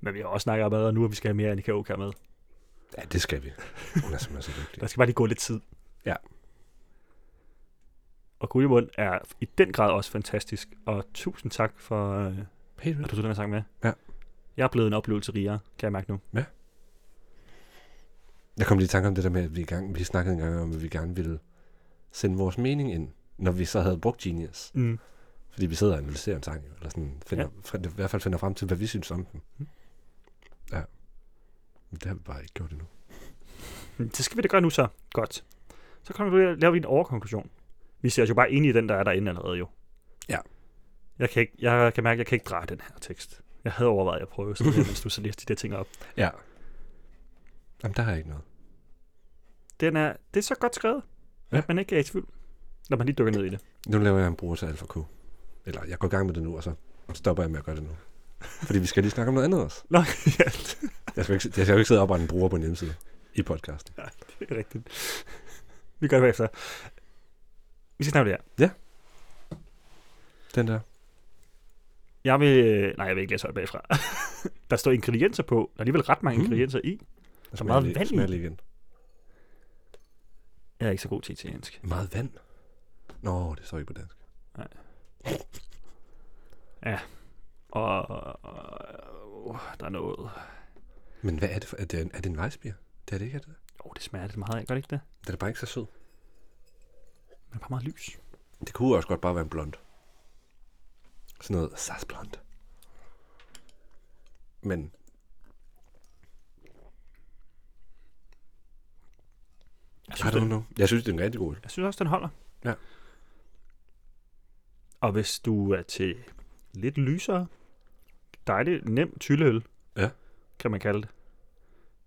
Speaker 1: Men vi har også snakket om allerede nu, at vi skal have mere Annika Oka med.
Speaker 3: Ja, det skal vi. Hun er simpelthen så dygtig.
Speaker 1: Der skal bare lige gå lidt tid.
Speaker 3: Ja.
Speaker 1: Og Guldemund er i den grad også fantastisk, og tusind tak for, øh,
Speaker 3: Helt
Speaker 1: at du tog den her sang med.
Speaker 3: Ja.
Speaker 1: Jeg er blevet en oplevelse rigere, kan jeg mærke nu.
Speaker 3: Jeg kom lige i tanke om det der med, at vi, i gang, vi snakkede engang om, at vi gerne ville sende vores mening ind, når vi så havde brugt Genius.
Speaker 1: Mm.
Speaker 3: Fordi vi sidder og analyserer en sang, jo, eller sådan, finder, ja. i hvert fald finder frem til, hvad vi synes om den.
Speaker 1: Mm.
Speaker 3: Ja. Men det har vi bare ikke gjort endnu.
Speaker 1: Hmm, Det skal vi da gøre nu så. Godt. Så konkluderer- laver vi en overkonklusion. Vi ser os jo bare enige i den, der er derinde allerede jo.
Speaker 3: Ja.
Speaker 1: Jeg kan, ikke, jeg kan mærke, at jeg kan ikke dreje den her tekst. Jeg havde overvejet at prøve, så det, mens du så læste de der ting op.
Speaker 3: Ja. Jamen, der har jeg ikke noget.
Speaker 1: Den er, det er så godt skrevet, ja.
Speaker 3: Ja.
Speaker 1: at man ikke er i tvivl, når man lige dykker ned i det.
Speaker 3: Nu laver jeg en bruger til Alpha Q. Eller jeg går i gang med det nu, og så stopper jeg med at gøre det nu. Fordi vi skal lige snakke om noget andet også.
Speaker 1: Nå, ja,
Speaker 3: Jeg skal jo ikke, jeg skal jo ikke sidde og oprette en bruger på en hjemmeside i podcasten.
Speaker 1: det er rigtigt. Vi gør det bagefter. Vi skal snakke om det her.
Speaker 3: Den der.
Speaker 1: Jeg vil... Nej, jeg vil ikke læse højt bagfra. der står ingredienser på. Der er alligevel ret mange
Speaker 3: Mm.
Speaker 1: ingredienser i.
Speaker 3: Der
Speaker 1: meget vand i.
Speaker 3: vand i. igen.
Speaker 1: Jeg er ikke så god til italiensk.
Speaker 3: Meget vand. Nå, det står ikke på dansk.
Speaker 1: Og... og uh, der er noget... Åh,
Speaker 3: Men hvad er det for? Er det en, er det en vejsbier? Det er det ikke, er det det?
Speaker 1: oh, det smager lidt meget af, gør det ikke det?
Speaker 3: Den er bare ikke så sød.
Speaker 1: Men det er bare meget lys.
Speaker 3: Det kunne også godt bare være en blond. Sådan noget sas blond. Men
Speaker 1: Jeg
Speaker 3: I
Speaker 1: synes,
Speaker 3: don't
Speaker 1: den,
Speaker 3: know. Jeg synes, det er en rigtig god øl.
Speaker 1: jeg synes også, den holder.
Speaker 3: Ja.
Speaker 1: Og hvis du er til lidt lysere, dejlig, nem tylleøl,
Speaker 3: Ja.
Speaker 1: kan man kalde det,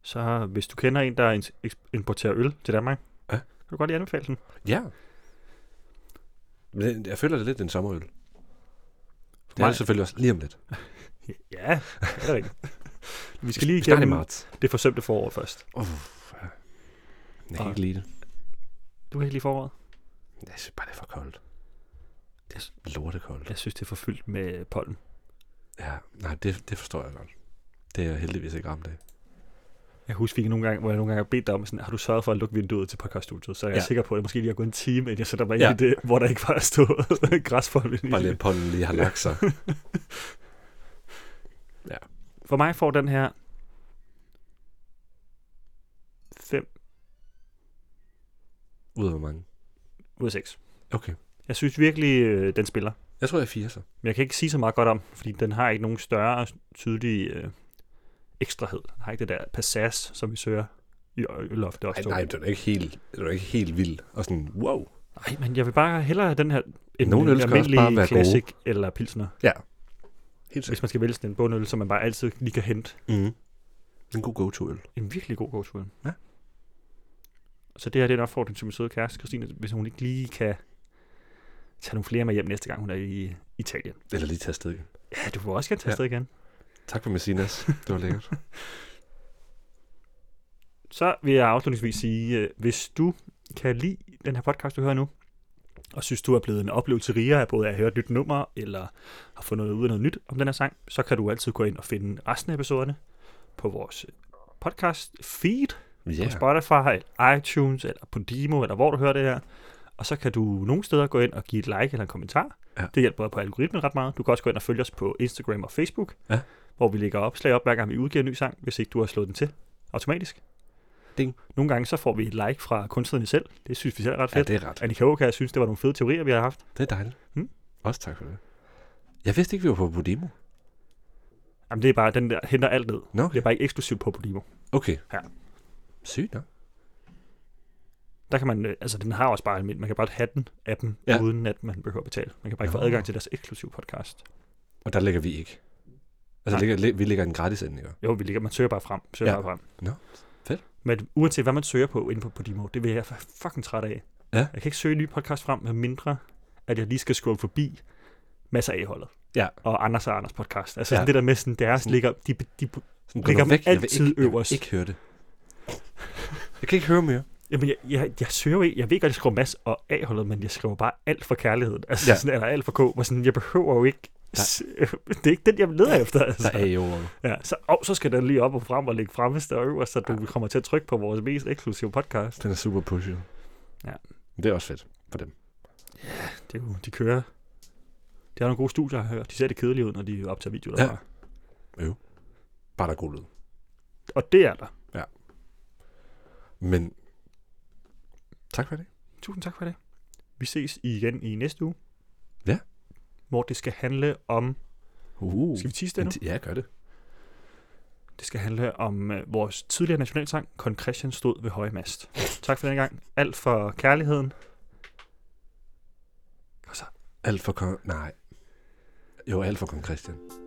Speaker 1: så hvis du kender en, der ins- eks- importerer øl til Danmark,
Speaker 3: Ja.
Speaker 1: kan du godt lige anbefale den.
Speaker 3: Ja. Men det- jeg føler, det er lidt en sommerøl. For
Speaker 1: Det
Speaker 3: mig er altså-
Speaker 1: er-
Speaker 3: det selvfølgelig også lige om lidt.
Speaker 1: Ja, det er rigtigt. Vi skal lige
Speaker 3: Vi starter i
Speaker 1: igennem
Speaker 3: marts.
Speaker 1: det forsømte forår først.
Speaker 3: Uff, ja. Jeg
Speaker 1: Og-
Speaker 3: kan ikke lide det.
Speaker 1: Du kan ikke lide foråret?
Speaker 3: Jeg synes bare, det er for koldt. Det er lortekoldt.
Speaker 1: Jeg synes, det er for fyldt med pollen.
Speaker 3: Ja, nej, det, det forstår jeg godt. Det er jeg heldigvis ikke ramt af.
Speaker 1: Jeg husker, vi nogle gange, hvor jeg nogle gange har bedt dig om, sådan, har du sørget for at lukke vinduet til podcaststudiet? Så er jeg ja.
Speaker 3: Ja.
Speaker 1: sikker på, at jeg måske lige har gået en time, inden jeg sætter mig ja.
Speaker 3: Ja.
Speaker 1: ind i det, hvor der ikke var stået græsfolden.
Speaker 3: Bare
Speaker 1: i.
Speaker 3: lidt pollen lige har lagt sig.
Speaker 1: For mig får den her 5
Speaker 3: Ud af hvor mange?
Speaker 1: ud af 6.
Speaker 3: Okay.
Speaker 1: Jeg synes virkelig, øh, den spiller.
Speaker 3: Jeg tror, jeg er fire så.
Speaker 1: Men jeg kan ikke sige så meget godt om, den, fordi den har ikke nogen større tydelig øh, ekstrahed. Den har ikke det der passage, som vi søger i loftet også.
Speaker 3: Ej, nej, det er ikke helt, det er ikke helt vildt. Og sådan, wow.
Speaker 1: nej, men jeg vil bare hellere have den her end den
Speaker 3: Nogle øl skal også bare være gode.
Speaker 1: classic eller pilsner.
Speaker 3: Helt
Speaker 1: Hvis man skal vælge sådan en bundøl, som man bare altid lige kan hente.
Speaker 3: Mm. En god go-to-øl.
Speaker 1: En virkelig god gåtur.
Speaker 3: Ja.
Speaker 1: Så det her det er en opfordring til min søde kæreste, Christine, hvis hun ikke lige kan tage nogle flere med hjem næste gang, hun er i Italien.
Speaker 3: Eller lige tage afsted igen.
Speaker 1: Ja, du må også gerne tage
Speaker 3: Ja.
Speaker 1: afsted igen.
Speaker 3: Tak for Messinas. Det var lækkert.
Speaker 1: Så vil jeg afslutningsvis sige, øh, hvis du kan lide den her podcast, du hører nu, og synes, du er blevet en oplevelse rigere af både at høre et nyt nummer, eller har fundet noget ud af noget nyt om den her sang, så kan du altid gå ind og finde resten af episoderne på vores podcast feed,
Speaker 3: Ja.
Speaker 1: yeah. på Spotify, eller iTunes, eller på Demo, eller hvor du hører det her. Og så kan du nogle steder gå ind og give et like eller en kommentar.
Speaker 3: Ja.
Speaker 1: Det hjælper på algoritmen ret meget. Du kan også gå ind og følge os på Instagram og Facebook,
Speaker 3: Ja.
Speaker 1: hvor vi lægger opslag op, hver gang vi udgiver en ny sang, hvis ikke du har slået den til automatisk.
Speaker 3: Ding.
Speaker 1: Nogle gange så får vi et like fra kunstnerne selv. Det synes vi selv er ret
Speaker 3: Ja,
Speaker 1: fedt.
Speaker 3: det er ret.
Speaker 1: Ja, Annika Åkær synes, det var nogle fede teorier, vi har haft.
Speaker 3: Det er dejligt.
Speaker 1: Mm.
Speaker 3: Også tak for det. Jeg vidste ikke, vi var på Podimo.
Speaker 1: Jamen det er bare, den der henter alt ned.
Speaker 3: Nå,
Speaker 1: Det er bare ikke eksklusivt på Podimo.
Speaker 3: okay.
Speaker 1: Ja.
Speaker 3: Sygt nok.
Speaker 1: Der kan man, øh, altså den har også bare almindelig, man kan bare have den af dem, ja.
Speaker 3: Ja.
Speaker 1: uden at man behøver at betale. Man kan bare ikke få
Speaker 3: Nå.
Speaker 1: adgang til deres eksklusive podcast.
Speaker 3: Og der ligger vi ikke. Altså,
Speaker 1: Nej.
Speaker 3: ligger, vi ligger en gratis ind, ikke?
Speaker 1: Jo, vi ligger, man søger bare frem. Søger ja.
Speaker 3: Ja.
Speaker 1: bare frem.
Speaker 3: Nå, fedt.
Speaker 1: Men uanset hvad man søger på inde på Podimo, det vil jeg være fucking træt af.
Speaker 3: Ja.
Speaker 1: Jeg kan ikke søge nye podcast frem, med mindre, at jeg lige skal scrolle forbi masser af holdet
Speaker 3: Ja.
Speaker 1: og Anders og Anders podcast. Altså
Speaker 3: Ja.
Speaker 1: ja. sådan det der med, sådan deres
Speaker 3: Sådan-
Speaker 1: ligger, de, de,
Speaker 3: Sådan,
Speaker 1: Ligger
Speaker 3: nu
Speaker 1: dem
Speaker 3: Jeg vil
Speaker 1: altid
Speaker 3: ikke, jeg vil
Speaker 1: øverst.
Speaker 3: ikke høre det. Jeg kan ikke høre mere.
Speaker 1: Jamen, jeg, jeg, jeg søger jo ikke. Jeg ved ikke, at jeg skriver Mads og A-holdet, men jeg skriver bare alt for kærligheden. Altså,
Speaker 3: Ja.
Speaker 1: ja. sådan, eller alt for K. Hvor sådan, jeg behøver jo ikke...
Speaker 3: Der-
Speaker 1: s- Det er ikke den, jeg leder efter.
Speaker 3: Der
Speaker 1: Altså.
Speaker 3: er jo ordet.
Speaker 1: Ja, så, og så skal den lige op og frem og ligge fremmest og øverst, så du kommer til at trykke på vores mest eksklusive podcast.
Speaker 3: Den er super pushet.
Speaker 1: Ja.
Speaker 3: Men Det er også fedt for dem.
Speaker 1: Det er jo, de kører. De har nogle gode studier, jeg har hørt. De ser det kedelige ud, når de optager videoer
Speaker 3: Ja.
Speaker 1: derfra. Ja.
Speaker 3: Bare der er god lyd.
Speaker 1: Og det er der.
Speaker 3: Men tak for det.
Speaker 1: Tusind tak for det. Vi ses igen i næste uge.
Speaker 3: Ja.
Speaker 1: Hvor det skal handle om...
Speaker 3: Uh.
Speaker 1: Skal vi tisse det nu?
Speaker 3: Ja, gør det.
Speaker 1: Det skal handle om øh, vores tidligere nationalsang, Kon Christian stod ved høje mast. Tak for den gang. Alt for kærligheden. Og så
Speaker 3: Alt for kong... Nej. Jo, alt for kong Christian.